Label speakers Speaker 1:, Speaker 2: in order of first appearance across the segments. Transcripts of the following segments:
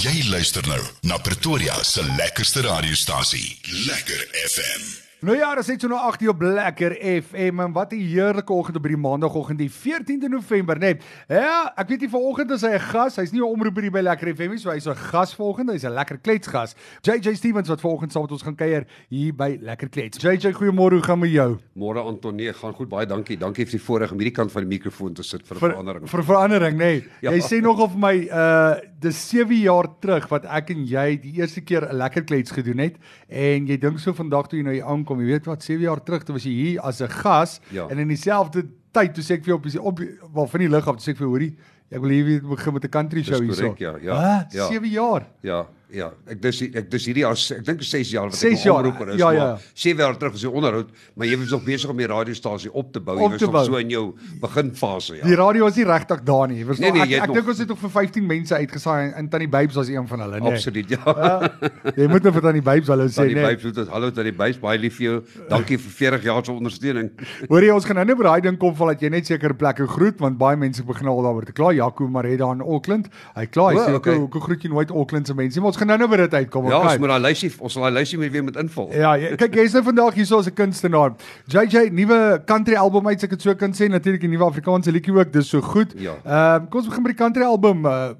Speaker 1: Jy luister nou na Pretoria se lekkerste radiostasie, Lekker FM.
Speaker 2: Nou ja, dis net so nou 8 uur op Lekker FM en wat 'n heerlike oggend op hierdie maandagooggend die 14de November, né? Nee, ja, ek weet nie vanoggend is hy 'n gas, hy's nie 'n omroeper hier by Lekker FM nie, so hy's 'n gas vanoggend, hy's 'n lekker kletsgas. JJ Stevens wat vanoggend saam met ons gaan kuier hier by Lekker Klets. JJ, goeiemôre, hoe gaan met jou?
Speaker 3: Môre Anton, nee, gaan goed, baie dankie. Dankie vir die voorreg om hierdie kant van die mikrofoon te sit vir 'n
Speaker 2: Vir
Speaker 3: verandering.
Speaker 2: vir verandering, nê. Nee.
Speaker 3: Ja.
Speaker 2: Jy sê nogal vir my uh dis 7 jaar terug wat ek en jy die eerste keer 'n lekker klets gedoen het en jy dink so vandag toe jy nou hier aankom, jy weet wat 7 jaar terug toe was jy hier as 'n gas
Speaker 3: Ja.
Speaker 2: en in dieselfde tyd toe sê ek vir jou op die- op die- wel van die lig af toe sê ek vir jou, hoorie ek wil hier weer begin met 'n country show
Speaker 3: Dis
Speaker 2: hierso.
Speaker 3: korrek, ja, ja,
Speaker 2: Hæ?
Speaker 3: ja.
Speaker 2: 7 jaar.
Speaker 3: Ja, ja. Ek dis ek dis hierdie jaar ek dink 6 jaar wat
Speaker 2: Ses
Speaker 3: ek 'n
Speaker 2: jaar,
Speaker 3: omroeper is.
Speaker 2: ja, ja.
Speaker 3: maar Sewe jaar terug is jy onderhoud, maar jy was nog besig om die radiostasie op te bou.
Speaker 2: Op
Speaker 3: Jy was
Speaker 2: te
Speaker 3: nog
Speaker 2: bou.
Speaker 3: so in jou beginfase, ja.
Speaker 2: Die radio was nie regtig daar nie. Jy Verstaan?
Speaker 3: Nee, nee,
Speaker 2: ek
Speaker 3: jy het
Speaker 2: ek dink
Speaker 3: nog-
Speaker 2: ons het nog vir 15 mense uitgesaai en, en Tannie Babes was een van hulle, nee.
Speaker 3: Absoluut, ja.
Speaker 2: Uh, jy moet nou vir Tannie Babes hallo sê,
Speaker 3: Dan die
Speaker 2: nee.
Speaker 3: byf moet hallo tot die byf baie lief vir jou. Dankie vir 40 jaar se ondersteuning.
Speaker 2: Hoor jy ons gaan nou net by daai ding kom van dat jy net sekere plekke groet want baie mense begin al daaroor te kla. Jaco Mareda in Auckland. Hy kla, hy
Speaker 3: O,
Speaker 2: sê
Speaker 3: okay.
Speaker 2: okay. hoekom groet jy nooit Auckland se mense nie?" Maar ons gaan nou nou by dit uitkom.
Speaker 3: Ja, ons
Speaker 2: okay.
Speaker 3: moet daai lysie ons sal daai lysie met weer met invul.
Speaker 2: Ja, jy, kyk jy's nou vandag hier so as 'n kunstenaar. JJ nuwe country album uit, as ek dit so kan sê, natuurlik 'n nuwe Afrikaanse liedjie ook, dis so goed.
Speaker 3: Ja.
Speaker 2: Ehm kom ons begin by die country album. Uh,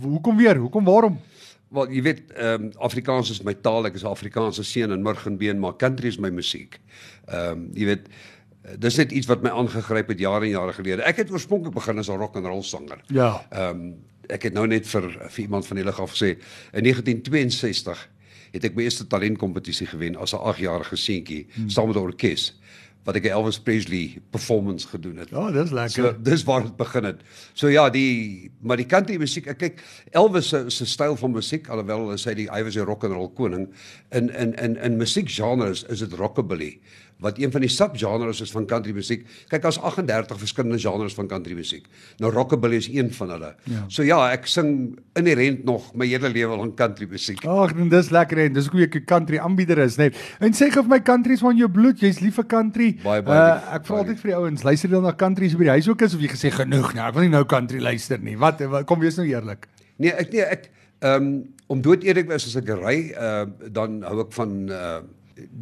Speaker 2: hoekom weer? Hoekom waarom?
Speaker 3: Wel, jy weet, ehm um, Afrikaans is my taal. Ek is 'n Afrikaanse seun in Murgenbeen, maar country is my musiek. Ehm um, jy weet, eh, dis net iets wat my aangegryp het jare en jare gelede. Ek het oorspronklik begin as 'n rock and roll sanger.
Speaker 2: Ja.
Speaker 3: Ehm um, ek het nou net vir vir iemand van julle af gesê in 1962 het ek my eerste talentkompetisie gewen as 'n 8-jarige seentjie hmm. saam met 'n orkes wat ek 'n Elvis Presley performance gedoen het.
Speaker 2: Ja, dis
Speaker 3: So dis waar dit begin het. So ja, die maar die country musiek, ek kyk Elvis se se styl van musiek alhoewel hulle sê die hy was 'n rock and roll koning in in in in musiekgenres is dit rockabilly wat een van die subgenres is van country musiek. Kyk, daar's 38 verskillende genres van country musiek. Nou rockabilly is een van hulle.
Speaker 2: Ja.
Speaker 3: So ja, ek sing inherënt nog my hele lewe lank country musiek.
Speaker 2: Ag, en dis lekker en dis hoe ek 'n country aanbieder is, net. En sê gou vir my country is van jou bloed, jy's lief vir country. Eh,
Speaker 3: Baie, baie lief,
Speaker 2: ek vra
Speaker 3: baie
Speaker 2: altyd vir die ouens, luister jy dan na country so by die huis ook is of jy gesê genoeg nou, ek wil nie nou country luister nie. Wat wat- kom wees nou eerlik.
Speaker 3: Nee, ek nee, ek ehm om dood eerlik is as ek ry, ehm dan hou ek van ehm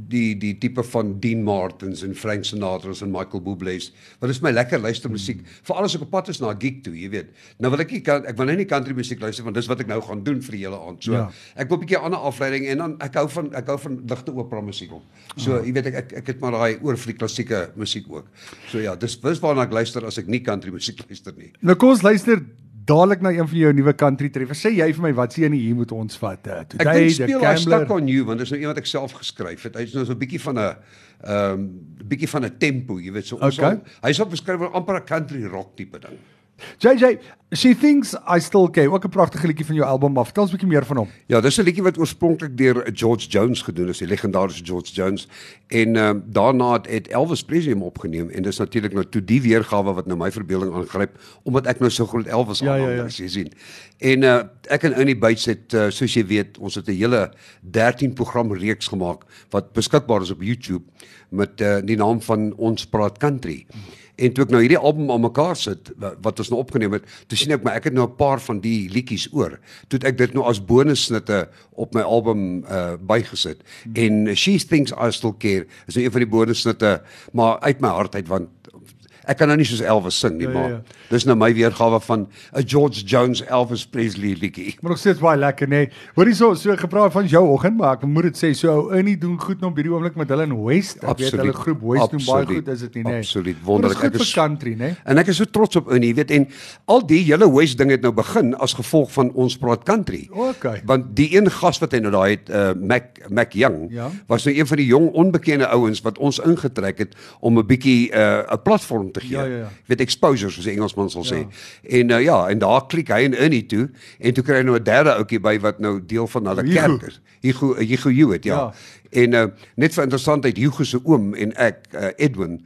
Speaker 3: die die tipe van Dean Martins en Frank Sinatra's en Michael Bublé's. Wat is my lekker luister musiek, veral as ek op pad is na 'n gig toe, jy weet. Nou wil ek nie kan ek wil nou nie country musiek luister want dis wat ek nou gaan doen vir die hele aand. So
Speaker 2: Ja.
Speaker 3: ek wil 'n bietjie ander afleiding en dan ek hou van ek hou van ligte opera musiek op. So jy weet ek ek, ek het maar daai oor vir die klassieke musiek ook. So ja, dis dis waarna ek luister as ek nie country musiek luister nie.
Speaker 2: Nou kom ons luister dadelik na een van jou nuwe country treffers. Sê jy vir my wat se een hier moet ons vat? Uh,
Speaker 3: Ek dink
Speaker 2: the
Speaker 3: speel I
Speaker 2: Gambler.
Speaker 3: Stuck on You want dis nou een wat ek self geskryf het. Hy's nou so 'n bietjie van 'n ehm bietjie van 'n tempo, jy weet so. ons
Speaker 2: Okay.
Speaker 3: sal- Hy sal beskryf as amper 'n country rock tipe ding.
Speaker 2: JJ, she thinks I still care. Ook 'n pragtige liedjie van jou album af. Vertel ons 'n bietjie meer van hom.
Speaker 3: Ja, dis 'n liedjie wat oorspronklik deur George Jones gedoen is, die legendariese George Jones. En ehm daarna het, het Elvis Presley hom opgeneem en dis natuurlik nou toe die weergawe wat nou my verbeelding aangryp omdat ek nou so groot Elvis
Speaker 2: Ja, ja,
Speaker 3: aanhanger
Speaker 2: ja.
Speaker 3: is, jy sien. En uh ek en Ounie Bates het uh, soos jy weet, ons het 'n hele 13 program reeks gemaak wat beskikbaar is op YouTube met uh die naam van Ons Praat Country. En toe ek nou hierdie album aan mekaar sit wa- wat ons nou opgeneem het, toe sien ek maar ek het nou 'n paar van die liedjies oor. Toe het ek dit nou as bonussnitte op my album uh bygesit. En uh, She Thinks I Still Care is nou een van die bonussnitte, maar uit my hart uit want ek kan nou nie soos Elvis sing nie,
Speaker 2: Ja, ja,
Speaker 3: maar
Speaker 2: ja.
Speaker 3: Dis nou my weergawe van 'n George Jones Elvis Presley liedjie.
Speaker 2: Maar nog steeds baie lekker nê. Nee. Hoorie so, so gepraat van jou oggend, maar ek moet dit sê, so ou Ernie doen goed nou op hierdie oomblik met hulle in West. Ek weet
Speaker 3: Absoluut,
Speaker 2: hulle groep West doen baie
Speaker 3: absoluut,
Speaker 2: goed, is dit nie nê?
Speaker 3: absoluut,
Speaker 2: Maar Dit
Speaker 3: wonderlik.
Speaker 2: is
Speaker 3: Ek
Speaker 2: goed
Speaker 3: is-
Speaker 2: vir country nee. nê.
Speaker 3: En ek is so trots op Unie, weet en al die hele West ding het nou begin as gevolg van ons praat country.
Speaker 2: Okay.
Speaker 3: Want die een gas wat hy nou daai het, uh, Mac Mac Young,
Speaker 2: Ja.
Speaker 3: was nou een van die jong onbekende ouens wat ons ingetrek het om 'n bietjie 'n platform te gee.
Speaker 2: Ja, ja, ja.
Speaker 3: Jy weet exposure soos die Engelsman sal sê. En uh, ja, en daar klik hy en Unie toe en toe kry hy nou 'n derde ouetjie by wat nou deel van hulle
Speaker 2: Hugo.
Speaker 3: kerk is. Hugo Hugo Hewitt, ja.
Speaker 2: Ja.
Speaker 3: ja. En uh, net vir interessantheid, Hugo se oom en ek, uh, Edwin,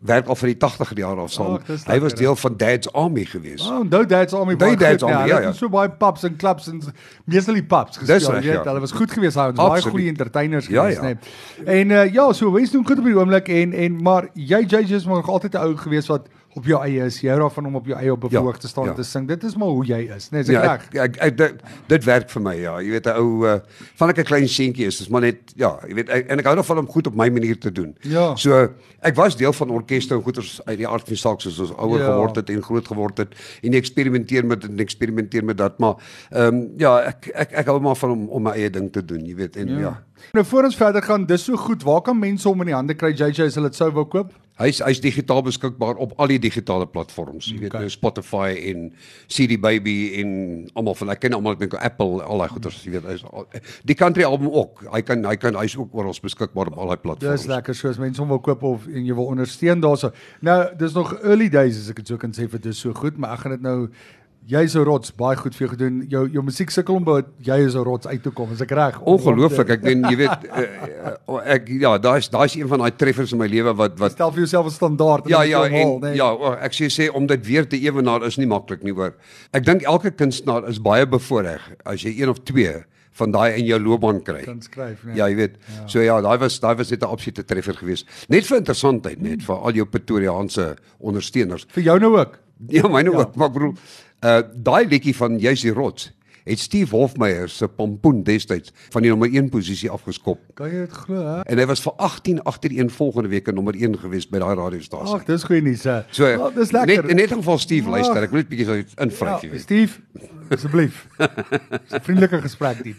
Speaker 3: werk al vir die 80 jaar af saam.
Speaker 2: Ag, dis
Speaker 3: hy was
Speaker 2: lekker,
Speaker 3: deel van Dad's Army gewees.
Speaker 2: Oh, onthou Dad's Army
Speaker 3: Onthou
Speaker 2: baie
Speaker 3: Dad's
Speaker 2: goed, nee,
Speaker 3: Army,
Speaker 2: hulle
Speaker 3: ja,
Speaker 2: het
Speaker 3: ja.
Speaker 2: So baie pubs en clubs en meestal die pubs gespeel,
Speaker 3: Dis reg,
Speaker 2: jy weet,
Speaker 3: ja.
Speaker 2: hulle was goed geweest daai ons baie
Speaker 3: Absoluut.
Speaker 2: goeie entertainers
Speaker 3: Ja,
Speaker 2: geweest nee. eh,
Speaker 3: ja.
Speaker 2: nê. En uh, ja, so West doen goed op hierdie oomblik en en maar jy JJ's maar nog altyd 'n ou geweest wat op jou eie is. Jy hou daarvan om op jou eie op 'n
Speaker 3: Ja,
Speaker 2: verhoog te staan en
Speaker 3: ja.
Speaker 2: te sing. Dit is maar hoe jy is, né? Nee, is ek
Speaker 3: Ja,
Speaker 2: reg?
Speaker 3: ek, ek, ek dit, dit werk vir my ja. Jy weet 'n ou uh, van ek 'n klein seentjie is, dis maar net ja, jy weet ek, en ek hou daarvan om goed op my manier te doen.
Speaker 2: Ja.
Speaker 3: So ek was deel van orkeste en goeters uit die aard van die saak soos ons ouer
Speaker 2: Ja.
Speaker 3: geword het en groot geword het en jy eksperimenteer met dit en eksperimenteer met dat maar ehm um, ja, ek ek ek hou maar van om om my eie ding te doen, jy weet en ja. ja.
Speaker 2: Nou voor ons verder gaan, dis so goed. Waar kan mense hom in die hande kry? JJ as hulle dit sou wou koop?
Speaker 3: Hy's hy's digitaal beskikbaar op al die digitale platforms. Jy weet
Speaker 2: Okay.
Speaker 3: okay. Spotify en CD Baby en almal van ek ken almal ek dink Apple al daai goeders jy weet hy's al- die country album ook. Hy kan hy kan hy's ook oral beskikbaar op al daai platforms.
Speaker 2: Dis lekker soos mense hom wil koop of en jy wil ondersteun daarso. Nou, dis nog early days as ek dit so kan sê vir dis so goed, maar ek gaan dit nou jy's 'n rots, baie goed vir jou gedoen. Jou jou musiek sukkel om by jy is 'n rots uit te kom. Is ek reg?
Speaker 3: Ongelooflik. Ek meen jy weet eh, eh, ek ja, daai's daai's een van daai treffers in my lewe wat wat
Speaker 2: Stel vir jouself 'n standaard. en
Speaker 3: Ja
Speaker 2: dan
Speaker 3: ja
Speaker 2: moet jy hom haal, nee,
Speaker 3: en
Speaker 2: né?
Speaker 3: ja, o, ek sê sê om dit weer te ewenaar is nie maklik nie hoor. Ek dink elke kunstenaar is baie bevoordeel as jy een of twee van daai in jou loopbaan kry.
Speaker 2: Kan skryf, nee. né?
Speaker 3: Ja, jy weet. Ja. So ja, daai was daai was net 'n absolute treffer geweest. Net vir interessantheid
Speaker 2: Mm.
Speaker 3: net vir al jou Pretoriaanse ondersteuners.
Speaker 2: Vir jou nou ook.
Speaker 3: Ja, myne ja. ook, maar ek bedoel uh daai liedjie van Jy's die rots het Steve Hofmeyer se pompoen destyds van die nommer 1 posisie afgeskop.
Speaker 2: Kan jy dit glo? hè?
Speaker 3: En hy was vir 18 agtereen volgende week in nommer 1 gewees by daai radiostasie.
Speaker 2: Ag, dis goeie nuus. hè.
Speaker 3: So
Speaker 2: Ah, dis lekker.
Speaker 3: net in net geval Steve luister,
Speaker 2: Ag.
Speaker 3: ek wil net bietjie so invryf jy
Speaker 2: Ja,
Speaker 3: weet.
Speaker 2: Steve, asseblief. Dis 'n vriendelike gesprek dit.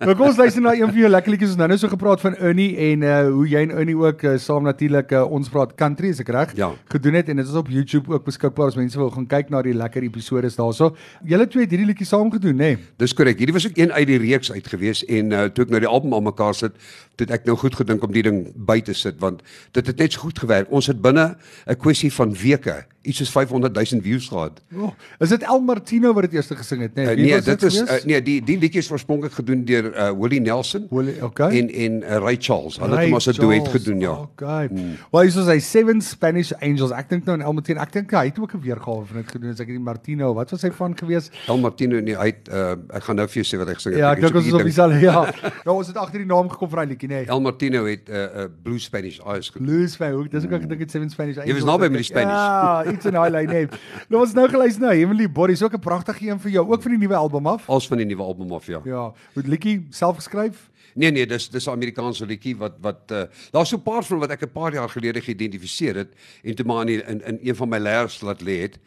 Speaker 2: Nou kom ons luister na een van jou lekker liedjies. Ons nou nou so gepraat van Ernie en uh hoe jy en Ernie ook uh, saam natuurlik uh, ons praat country, is ek reg?
Speaker 3: Ja.
Speaker 2: Gedoen het en dit is op YouTube ook beskikbaar as mense wil gaan kyk na die lekker episode daarso. Julle twee het hierdie liedjie saam gedoen, nê? Nee?
Speaker 3: Dis korrek. Hierdie was ook een uit die reeks uit gewees en uh, toe ek nou die album aan mekaar sit, toe het ek nou goed gedink om die ding by te sit want dit het net so goed gewerk. Ons het binne 'n kwessie van weke iets soos 500 000 views gehad.
Speaker 2: Oh, is dit El Martino wat dit eers gesing het, nê?
Speaker 3: Uh,
Speaker 2: Wie
Speaker 3: Ja. nee,
Speaker 2: was
Speaker 3: dit is
Speaker 2: gewees?
Speaker 3: uh, nee, die die liedjie is oorspronklik gedoen deur uh, Willie Nelson
Speaker 2: Willie, okay.
Speaker 3: en en uh, Ray Charles. Hulle het
Speaker 2: Ray
Speaker 3: hom as 'n duet
Speaker 2: Charles,
Speaker 3: gedoen, ja.
Speaker 2: Okay. Mm. Wel, hier is hy Seven Spanish Angels. Ek dink nou aan Elmateen. Ek dink hy het ook 'n weergawe van dit gedoen. As ek die Martino, wat was hy van gewees?
Speaker 3: Dan Martino nee, hy het, uh, ek gaan nou vir jou sê wat hy gesing het.
Speaker 2: Ja,
Speaker 3: Ek
Speaker 2: ek
Speaker 3: het
Speaker 2: dink
Speaker 3: so
Speaker 2: ons is op
Speaker 3: bietjie
Speaker 2: dieselfde ja. Nou ons het agter die naam gekom van daai liedjie, nee. nê.
Speaker 3: dink- El Martino het 'n uh, uh, Blue Spanish Eyes gedoen.
Speaker 2: Blues van hoek. Dis ook ek gedink dit Seven Spanish Angels.
Speaker 3: was naby met die Spanish.
Speaker 2: Ja, iets in daai lyn nê. Nou ons nou geluister na Heavenly Bodies, ook 'n pragtige een vir jou, ook van die nuwe album af.
Speaker 3: Als van die nuwe album af ja.
Speaker 2: Ja, hoe liedjie self geskryf.
Speaker 3: Nee nee, dis dis 'n Amerikaanse liedjie wat wat uh, daar's so 'n paar van wat ek 'n paar jaar gelede geïdentifiseer het en toe maar in in, in een van my leers laat lê het.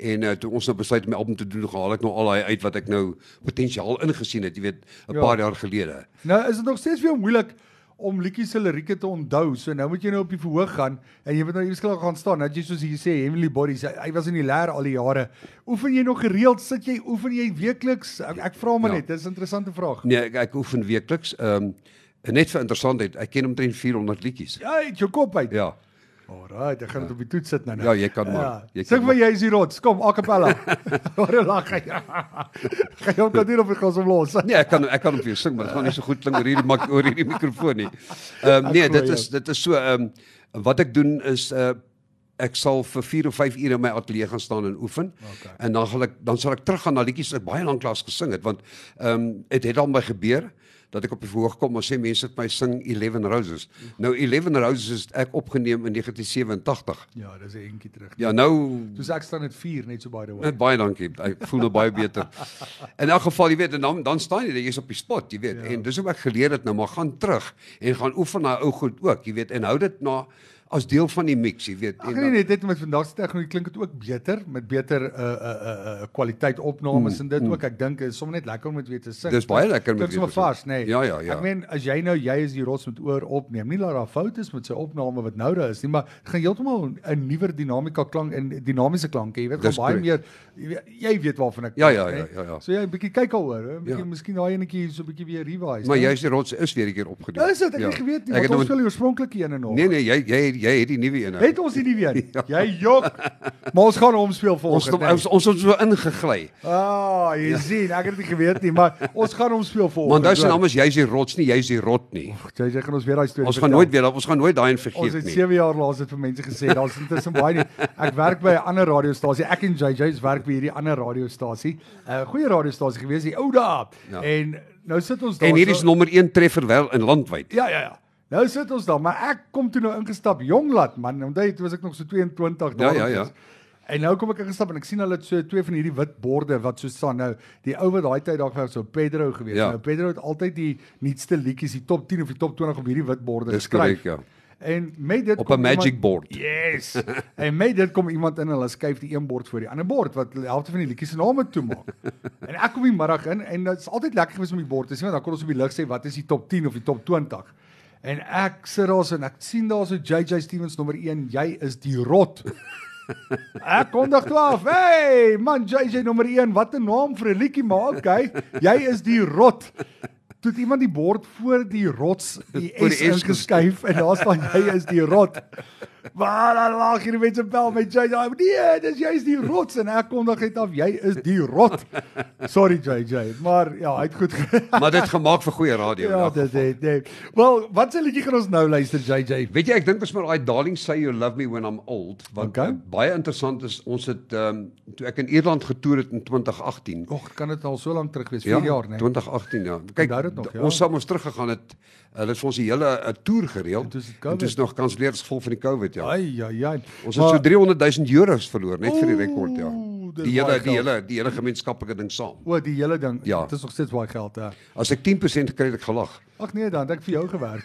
Speaker 3: En uh, toe ons nou besluit om my album te doen, haal ek nou al daai uit wat ek nou potensiaal ingesien het, jy weet, 'n
Speaker 2: Ja.
Speaker 3: ja. paar jaar gelede.
Speaker 2: Nou is dit nog steeds weer moeilik om liedjies se lirieke te onthou. So nou moet jy nou op die verhoog gaan en jy moet nou eers klaar gaan staan. Nou jy soos hier sê Heavenly Bodies, hy, hy was in die leer al die jare. Oefen jy nog gereeld? Sit jy oefen jy weekliks? Ek, ek vra maar
Speaker 3: Ja.
Speaker 2: net, dis 'n interessante vraag.
Speaker 3: Nee, ek, ek oefen weekliks. Ehm um, en net vir interessantheid, ek ken omtrent 400 liedjies.
Speaker 2: Ja, uit jou kop uit.
Speaker 3: Ja.
Speaker 2: Alraai, ek gaan dit op die toets sit nou nou.
Speaker 3: Ja, jy kan maar. Jy kan
Speaker 2: Sing vir jy is die rots. Kom, a cappella. Hoor hoe lag hy. Gaan jy ook natuurlik op die gas omlos.
Speaker 3: Nee, ek kan ek kan hom vir jou sing, maar dit gaan nie so goed klink oor hierdie mak oor hierdie mikrofoon nie. Ehm um,
Speaker 2: Ek
Speaker 3: nee,
Speaker 2: glo
Speaker 3: dit
Speaker 2: jou.
Speaker 3: is dit is so ehm um, wat ek doen is uh ek sal vir 4 of 5 ure in my ateljee gaan staan en oefen. Okay. En dan gaan ek dan sal ek teruggaan na liedjies wat ek baie lank lank gesing het want ehm um, dit het al my gebeur dat ek op die verhoog kom en sê mense het my sing 11 Roses. Nou 11 Roses is ek opgeneem in 1987.
Speaker 2: Ja, dis 'n entjie terug.
Speaker 3: Ja, nou
Speaker 2: Soos ek staan net 4 net so by the way.
Speaker 3: Net baie dankie. Ek voel nou baie beter. In elk geval, jy weet, en dan dan staan jy, daar, jy's op die spot, jy weet. Ja. En dis hoe ek geleer het nou, maar gaan terug en gaan oefen na ou goed ook, jy weet, en hou dit na as deel van die mix, jy weet.
Speaker 2: Ag
Speaker 3: En
Speaker 2: nee,
Speaker 3: dan,
Speaker 2: net dit met vandag se tegnologie klink dit ook beter met beter uh uh uh uh, kwaliteit opnames mm, en dit mm. ook. Ek dink is sommer net lekker om dit weer te sing.
Speaker 3: Dis baie lekker om
Speaker 2: om
Speaker 3: dit
Speaker 2: dit weer te
Speaker 3: weer te
Speaker 2: vars,
Speaker 3: sing.
Speaker 2: nee.
Speaker 3: Ja, ja, ja.
Speaker 2: Ek meen as jy nou jy is die rots met oor opneem, nie laat daar fout is met sy opname wat nou daar is nie, maar het gaan heeltemal 'n nuwer dinamika klank en dinamiese klanke, jy weet, gaan
Speaker 3: Dis
Speaker 2: baie
Speaker 3: korrek.
Speaker 2: meer jy weet- jy weet waarvan ek
Speaker 3: Ja,
Speaker 2: praat,
Speaker 3: ja,
Speaker 2: nê?
Speaker 3: ja, ja, ja.
Speaker 2: So jy 'n bietjie kyk daaroor, hè, 'n bietjie
Speaker 3: Ja.
Speaker 2: miskien daai enetjie so 'n bietjie weer revise.
Speaker 3: maar jy's die rots is weer 'n keer opgedoen.
Speaker 2: nou- is dit ek ja. nie geweet nie, want ons speel die oorspronklike een en nog.
Speaker 3: Nee nee, jy jy jy het die nuwe een. nou.
Speaker 2: Het ons die nie weer. nie? Jy jok. Maar ons gaan hom speel
Speaker 3: ons
Speaker 2: volgende.
Speaker 3: het ons ons het so ingegly.
Speaker 2: Ah, jy ja. sien, ek het dit geweet nie, maar ons gaan hom speel volgende.
Speaker 3: Want dis naam is jy's die rots nie, jy's die rot nie.
Speaker 2: Jy jy gaan ons weer daai storie.
Speaker 3: Ons gaan nooit weer ons gaan nooit daai een vergeet
Speaker 2: Ons het
Speaker 3: nie.
Speaker 2: 7 jaar laas dit vir mense gesê. Daar's intussen baie nie. Ek werk by 'n ander radiostasie. Ek en JJ's werk by hierdie ander radiostasie. 'n uh, Goeie radiostasie gewees, die ou dae. Ja.
Speaker 3: Ja.
Speaker 2: En nou sit ons daar.
Speaker 3: En hier
Speaker 2: so-
Speaker 3: is nommer 1 treffer wel in landwyd.
Speaker 2: Ja, ja, ja. Nou sit ons daar, maar ek kom toe nou ingestap jonglat man. Onthou jy, toe was ek nog so 22
Speaker 3: Ja,
Speaker 2: daar.
Speaker 3: ja, ja.
Speaker 2: En nou kom ek ingestap en ek sien hulle het so twee van hierdie wit borde wat so staan nou. Die ou wat daai tyd daar was, so Pedro gewees.
Speaker 3: Ja.
Speaker 2: Nou Pedro het altyd die nuutste liedjies, die top 10 of die top 20 op hierdie wit borde
Speaker 3: Dis
Speaker 2: geskryf.
Speaker 3: korrek, ja.
Speaker 2: En met dit
Speaker 3: Op
Speaker 2: kom
Speaker 3: 'n magic
Speaker 2: iemand-
Speaker 3: board.
Speaker 2: Yes. en met dit kom iemand in en hulle skuif die een bord voor die ander bord wat die helfte van die liedjies se name toe maak. en ek kom die middag in en dit is altyd lekker gewees om die bord te sien want dan kon ons op die lig sê wat is die top 10 of die top 20. En ek sit daar so en ek sien daar so JJ Stevens nommer 1, jy is die rot. Ek kondig toe af. Hey, man, JJ nommer 1, wat 'n naam vir 'n liedjie maar okay. Jy is die rot. Toe het iemand die bord voor die rots die
Speaker 3: Voor die
Speaker 2: S
Speaker 3: S
Speaker 2: ingeskuif en daar staan jy is die rot. Maar dan lag hierdie mense bel met JJ. Nee, dis jy's die rots en ek kondig dit af. Jy is die rot. Sorry JJ, maar ja, hy het goed. ge-
Speaker 3: Maar dit gemaak vir goeie radio.
Speaker 2: ja,
Speaker 3: in elk
Speaker 2: dit dit. dit. Wel, wat se liedjie gaan ons nou luister JJ?
Speaker 3: Weet jy, ek dink ons moet daai Darling Say You Love Me When I'm Old wat
Speaker 2: Okay.
Speaker 3: okay. baie interessant is. Ons het ehm um, toe ek in Ierland getoer het in 2018.
Speaker 2: Och, kan dit al so lank terug wees? 4
Speaker 3: Ja,
Speaker 2: jaar, nee. né?
Speaker 3: 2018 ja. Kyk,
Speaker 2: Onthou dit nog, ja.
Speaker 3: ons sou ons teruggegaan het. Hulle het vir ons die hele 'n toer gereël.
Speaker 2: En toe is dit
Speaker 3: En Dit
Speaker 2: COVID.
Speaker 3: is nog kanselleer as gevolg van die COVID ja.
Speaker 2: Ai ja ja.
Speaker 3: Ons het so 300 000 euros verloor net vir die rekord ja.
Speaker 2: Oeh, dit is
Speaker 3: Die hele
Speaker 2: baie
Speaker 3: die
Speaker 2: geld.
Speaker 3: hele die hele gemeenskaplike ding saam.
Speaker 2: O, die hele ding.
Speaker 3: Ja.
Speaker 2: Dit is nog steeds baie geld hè.
Speaker 3: As ek 10% gekry het, ek gelag.
Speaker 2: Ag nee, dan het ek vir jou gewerk.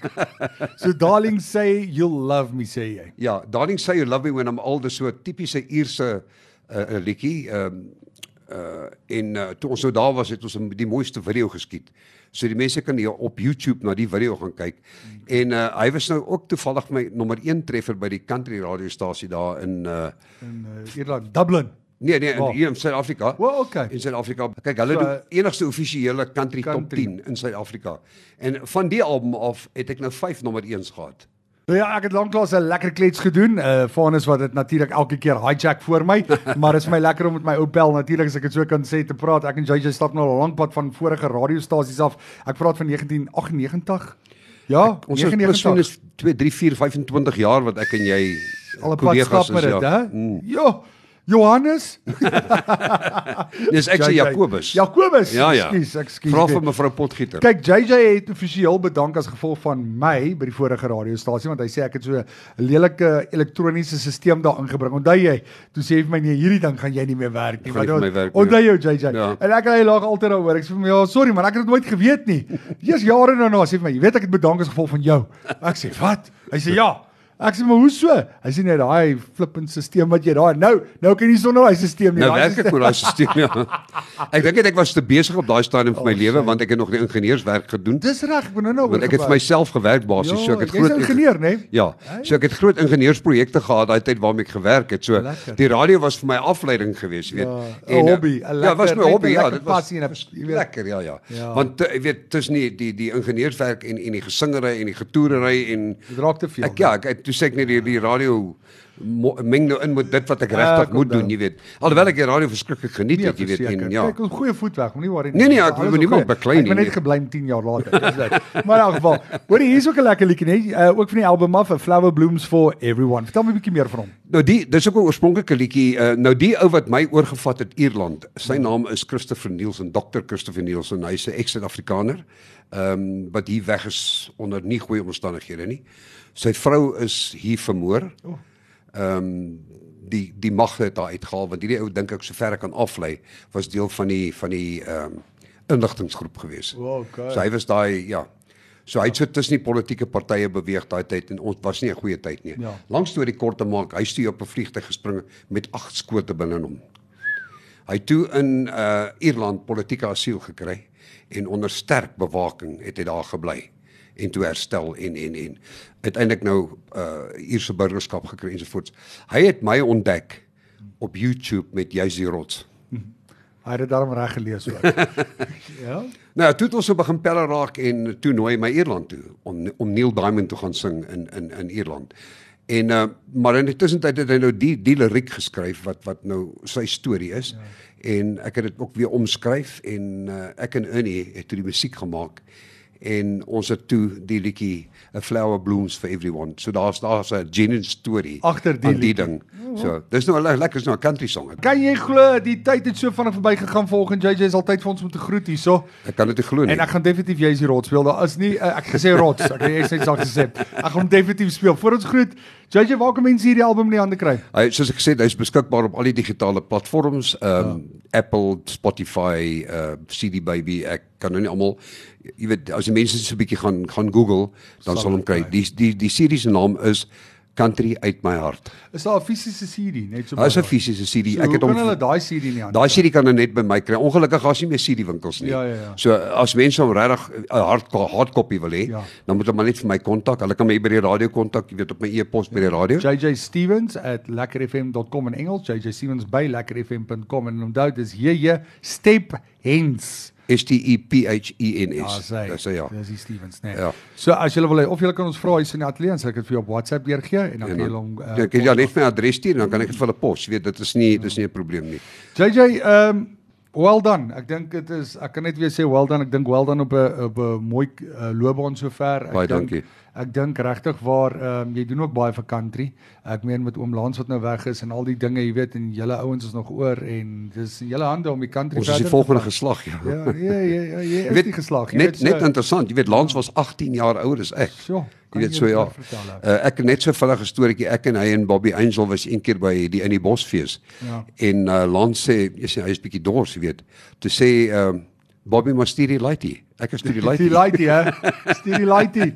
Speaker 2: so darling say you love me sê jy.
Speaker 3: Ja, Darling Say You Love Me When I'm Old is so 'n tipiese Ierse uh, uh, liedjie. Ehm uh en uh, toe ons nou daar was het ons een- die mooiste video geskiet. So die mense kan hier op YouTube na die video gaan kyk. En uh hy was nou ook toevallig my nommer 1 treffer by die country radiostasie daar in uh
Speaker 2: In uh, Ierland, Dublin.
Speaker 3: nee nee in,
Speaker 2: Waar?
Speaker 3: hier in Suid-Afrika.
Speaker 2: O, okay.
Speaker 3: In Suid-Afrika. Kyk, hulle
Speaker 2: So,
Speaker 3: doen enigste offisiële
Speaker 2: country.
Speaker 3: country, country top 10 in Suid-Afrika. En van die album af het ek nou 5 nommer 1s gehad.
Speaker 2: Nou ja, ek het lanklaas 'n lekker klets gedoen. Uh Vanus wat dit natuurlik elke keer hijack vir my, maar is my lekker om met my ou pel natuurlik as ek dit so kan sê te praat. Ek en JJ stap nou al 'n lang pad van vorige radiostasies af. Ek praat van 1998. Ja,
Speaker 3: Ons is persoon
Speaker 2: 1998.
Speaker 3: is 2 3 4 25 jaar wat ek en jy
Speaker 2: Al 'n pad stap met
Speaker 3: ja.
Speaker 2: dit, hè? Jo, Johannes,
Speaker 3: Dis ek se
Speaker 2: JJ.
Speaker 3: Jakobus.
Speaker 2: Jakobus,
Speaker 3: Ja
Speaker 2: Ja,
Speaker 3: ja.
Speaker 2: ekskuus, ekskuus.
Speaker 3: Vra vir mevrou Potgieter.
Speaker 2: Kyk, JJ het offisieel bedank as gevolg van my by die vorige radiostasie want hy sê ek het so 'n lelike elektroniese stelsel daar ingebring. Onthou jy, toe sê hy vir my nee, hierdie ding gaan jy nie meer werk nie.
Speaker 3: Gaan nie vir my
Speaker 2: on-
Speaker 3: werk nie.
Speaker 2: onthou jou JJ.
Speaker 3: Ja.
Speaker 2: En ek hy lag altyd daaroor. Ek sê vir hom ja, sorry man, ek het dit nooit geweet nie. Eers jare daarna sê hy vir my, jy weet ek het bedank as gevolg van jou. Ek sê, "Wat?" Hy sê, "Ja." Ek sê, "Maar hoe so?" Hy sê net daai flippend stelsel wat jy daar nou, nou kan jy sonder daai stelsel nie.
Speaker 3: Nou
Speaker 2: Daai
Speaker 3: werk
Speaker 2: stelsel-
Speaker 3: ek met daai stelsel. Ja. Ek dink net ek was te besig op daai stadium van my lewe want ek het nog die ingenieurswerk gedoen.
Speaker 2: Oh, Dis reg, ek moet nou nou
Speaker 3: Want ek het vir
Speaker 2: oorgepraat.
Speaker 3: myself gewerk basies, so ek het
Speaker 2: Ja, jy's
Speaker 3: groot
Speaker 2: ingenieur, né?
Speaker 3: Ja. So ek het groot ingenieursprojekte gehad daai tyd waarmee ek gewerk het. So
Speaker 2: Lekker.
Speaker 3: die radio was vir my afleiding geweest, jy weet.
Speaker 2: Ja, 'n
Speaker 3: En, eh,
Speaker 2: hobby, 'n
Speaker 3: Ja,
Speaker 2: lekker-
Speaker 3: was my
Speaker 2: net 'n
Speaker 3: hobby, ja,
Speaker 2: lekker
Speaker 3: dit was
Speaker 2: passie en 'n- jy weet.
Speaker 3: lekker, ja, ja.
Speaker 2: Ja.
Speaker 3: Want eh, jy weet tussen die die die ingenieurswerk en en die gesingery en die getoerery en
Speaker 2: Dit raak te veel,
Speaker 3: Ek ja, ek ek- toe sê ek net die die radio mo- meng nou in met dit wat ek regtig
Speaker 2: ek
Speaker 3: moet
Speaker 2: onthou.
Speaker 3: doen, jy weet. Alhoewel ek die radio verskriklik geniet het, jy weet en ja.
Speaker 2: nou. Kyk, ons goeie voet weg, moenie worry
Speaker 3: Nee, nee, ek
Speaker 2: Alles
Speaker 3: wil
Speaker 2: op
Speaker 3: niemand
Speaker 2: goeie-
Speaker 3: beklei
Speaker 2: Ek eh, ben
Speaker 3: nie,
Speaker 2: net
Speaker 3: nee.
Speaker 2: gebly 10 jaar later, dus dis dit. Maar in elk geval, hoorie, hier's ook 'n lekker liedjie, nee, uh, ook van die album af, A Flower Blooms for Everyone. Vertel my 'n bietjie meer van hom.
Speaker 3: Nou die dis ook 'n oorspronklike liedjie. Uh, nou die ou wat my oorgevat het Ierland. Sy naam is Christopher Nielsen, Dr. Christopher Nielsen. Hy's 'n ex-Suid-Afrikaner. Ehm um, wat hier weg is onder nie goeie omstandighede nie. Sy vrou is hier vermoor. Ehm um, die die mag het daar uitgehaal want hierdie ou dink ek sover ek kan aflei was deel van die van die ehm um, inligtinggroep gewees.
Speaker 2: Okay.
Speaker 3: So hy was daai ja. So hy het so tussen die politieke partye beweeg daai tyd en ons was nie 'n goeie tyd nie.
Speaker 2: Ja.
Speaker 3: Langs toe die kort te maak, hy stew op 'n vliegtuig gespring met agt skote binne in hom. Hy het toe in uh Ierland politieke asiel gekry en onder sterk bewaking het hy daar gebly en toe herstel en en en uiteindelik nou uh Ierse burgerskap gekry ensovoorts. Hy het my ontdek op YouTube met Jaysie Rots.
Speaker 2: Hy het dit daarom reg gelees ook. ja.
Speaker 3: Nou, ja, toe het ons so begin pelle raak en toe nooi my Ierland toe om om Neil Diamond te gaan sing in in in Ierland. En uh, maar in die tussentyd het hy nou die die liriek geskryf wat wat nou sy storie is. Ja. eh, En ek het dit ook weer omskryf en uh, ek en Ernie het toe die musiek gemaak en ons het toe die liedjie A Flower Blooms for Everyone. So daar's daar's 'n genuine story
Speaker 2: Agter die
Speaker 3: aan die
Speaker 2: liedjie.
Speaker 3: ding. So, dis nou 'n le- lekker is nou 'n country song. Ek,
Speaker 2: Kan jy glo die tyd het so vinnig verbygegaan vanoggend JJ is altyd vir ons om te groet hierso.
Speaker 3: ek kan dit nie glo nie.
Speaker 2: En ek gaan definitief jy is die rots speel. Daar is nie uh, ek gesê rots, ek het net al gesê. Ek gaan hom definitief speel. Voor ons groet, JJ, waar kan mense hierdie album in die hande kry?
Speaker 3: Hy soos ek gesê, het, hy's beskikbaar op al die digitale platforms, ehm um, ja. Apple, Spotify, uh CD Baby. Ek kan nou nie almal jy weet as die mense so 'n bietjie gaan gaan Google, dan sal hom kry. Die die die serie se naam is Country uit my hart.
Speaker 2: Is daar 'n fisiese CD net so?
Speaker 3: Hy's 'n
Speaker 2: baie?
Speaker 3: fisiese CD.
Speaker 2: Ja. So,
Speaker 3: Ek het
Speaker 2: hoe kan
Speaker 3: hom
Speaker 2: hulle daai CD in die hande.
Speaker 3: Daai CD kan nou net by my kry. Ongelukkig daar's nie meer CD winkels nie.
Speaker 2: Ja, ja, ja.
Speaker 3: So as mense hom regtig 'n hard hardkopie wil hê,
Speaker 2: Ja.
Speaker 3: ja. dan moet hulle maar net vir my kontak. Hulle kan my by die radio kontak, jy weet op my e-pos by die radio.
Speaker 2: JJ Stevens at lekkerfm.com in Engels, JJ Stevens by lekkerfm.com en onthou dis JJ Step Hens.
Speaker 3: S T E P H E N S.
Speaker 2: hy.
Speaker 3: Dis hy, ja.
Speaker 2: Dis die Stevens, né?
Speaker 3: Ja.
Speaker 2: So as jy wil hê of jy kan ons vra hier's in die ateljee en sal ek dit vir jou op WhatsApp deurgee en dan
Speaker 3: En
Speaker 2: kan jy
Speaker 3: dan,
Speaker 2: hom eh,
Speaker 3: ja, ek het ja net my adres stuur en dan kan ek dit vir hulle pos. Jy weet, dit is nie dis nie 'n probleem nie.
Speaker 2: JJ, ehm um, well done. Ek dink dit is ek kan net weer sê well done. Ek dink well done op 'n op 'n mooi uh, loopbaan sover. Ek
Speaker 3: Baie
Speaker 2: dink-
Speaker 3: dankie.
Speaker 2: Ek dink regtig waar ehm um, jy doen ook baie vir country. Ek meen met oom Lans wat nou weg is en al die dinge, jy weet, en julle ouens is nog oor en dis in julle hande om die country
Speaker 3: Ons is die
Speaker 2: te
Speaker 3: volgende geslag, ja.
Speaker 2: Ja, ja, ja, ja, jy
Speaker 3: Jy
Speaker 2: is weet, nie geslaag. Jy
Speaker 3: net
Speaker 2: weet,
Speaker 3: net interessant. Jy weet Lans was 18 jaar ouer as ek.
Speaker 2: Sjoe, kan
Speaker 3: Jy weet
Speaker 2: jy
Speaker 3: so
Speaker 2: dit
Speaker 3: ja.
Speaker 2: maar vertel, ou?
Speaker 3: Uh, ek net so vinnig 'n storieetjie. Ek en hy en Bobby Angel was een keer by die in die Bosfees.
Speaker 2: Ja.
Speaker 3: En uh, Lans sê, jy sê hy is bietjie dors, jy weet. Toe sê ehm um, Bobby maar stuur die lightie. Ek is stuur die
Speaker 2: Stuur die
Speaker 3: lightie.
Speaker 2: laaitie hè. Stuur die laaitie.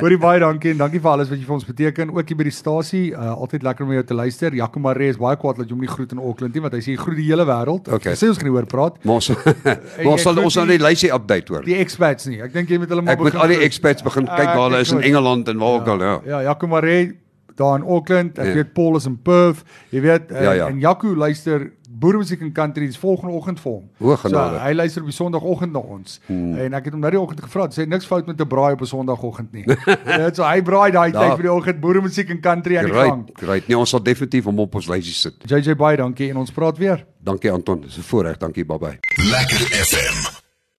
Speaker 2: Hoorie baie dankie en dankie vir alles wat jy vir ons beteken ook hier by die stasie. Uh, altyd lekker om jou te luister. Jaco Maree is baie kwaad dat jy hom nie groet in Auckland nie want hy sê jy groet die hele wêreld.
Speaker 3: Okay.
Speaker 2: Hy Sê ons gaan nie oor praat.
Speaker 3: Maar ons maar ons sal
Speaker 2: groet
Speaker 3: ons sal
Speaker 2: die-
Speaker 3: net lysie update hoor.
Speaker 2: Die expats nie. Ek dink jy moet hulle maar
Speaker 3: Ek moet al die
Speaker 2: groet.
Speaker 3: expats begin kyk
Speaker 2: Ek-
Speaker 3: waar hulle
Speaker 2: ek
Speaker 3: is in
Speaker 2: groet.
Speaker 3: Engeland en waar ook al, ja.
Speaker 2: Ja, Jaco Maree daar in Auckland. Ek
Speaker 3: Ja.
Speaker 2: weet Paul is in Perth. Jy weet en,
Speaker 3: Ja, ja.
Speaker 2: en Jaco luister boeremusiek en country dis volgende oggend vir hom.
Speaker 3: O, genade.
Speaker 2: hy luister op die Sondagoggend na ons. Hmm. En ek het hom nou die oggend gevra, hy sê niks fout met 'n braai op 'n Sondagoggend nie. Dit so hy braai daai
Speaker 3: Ja.
Speaker 2: tyd vir die oggend boeremusiek en country aan die gang.
Speaker 3: Right, right. Nee, ons sal definitief hom op ons lysie sit.
Speaker 2: JJ baie dankie en ons praat weer.
Speaker 3: Dankie Anton, dis 'n voorreg. Dankie, bye bye.
Speaker 1: Lekker FM.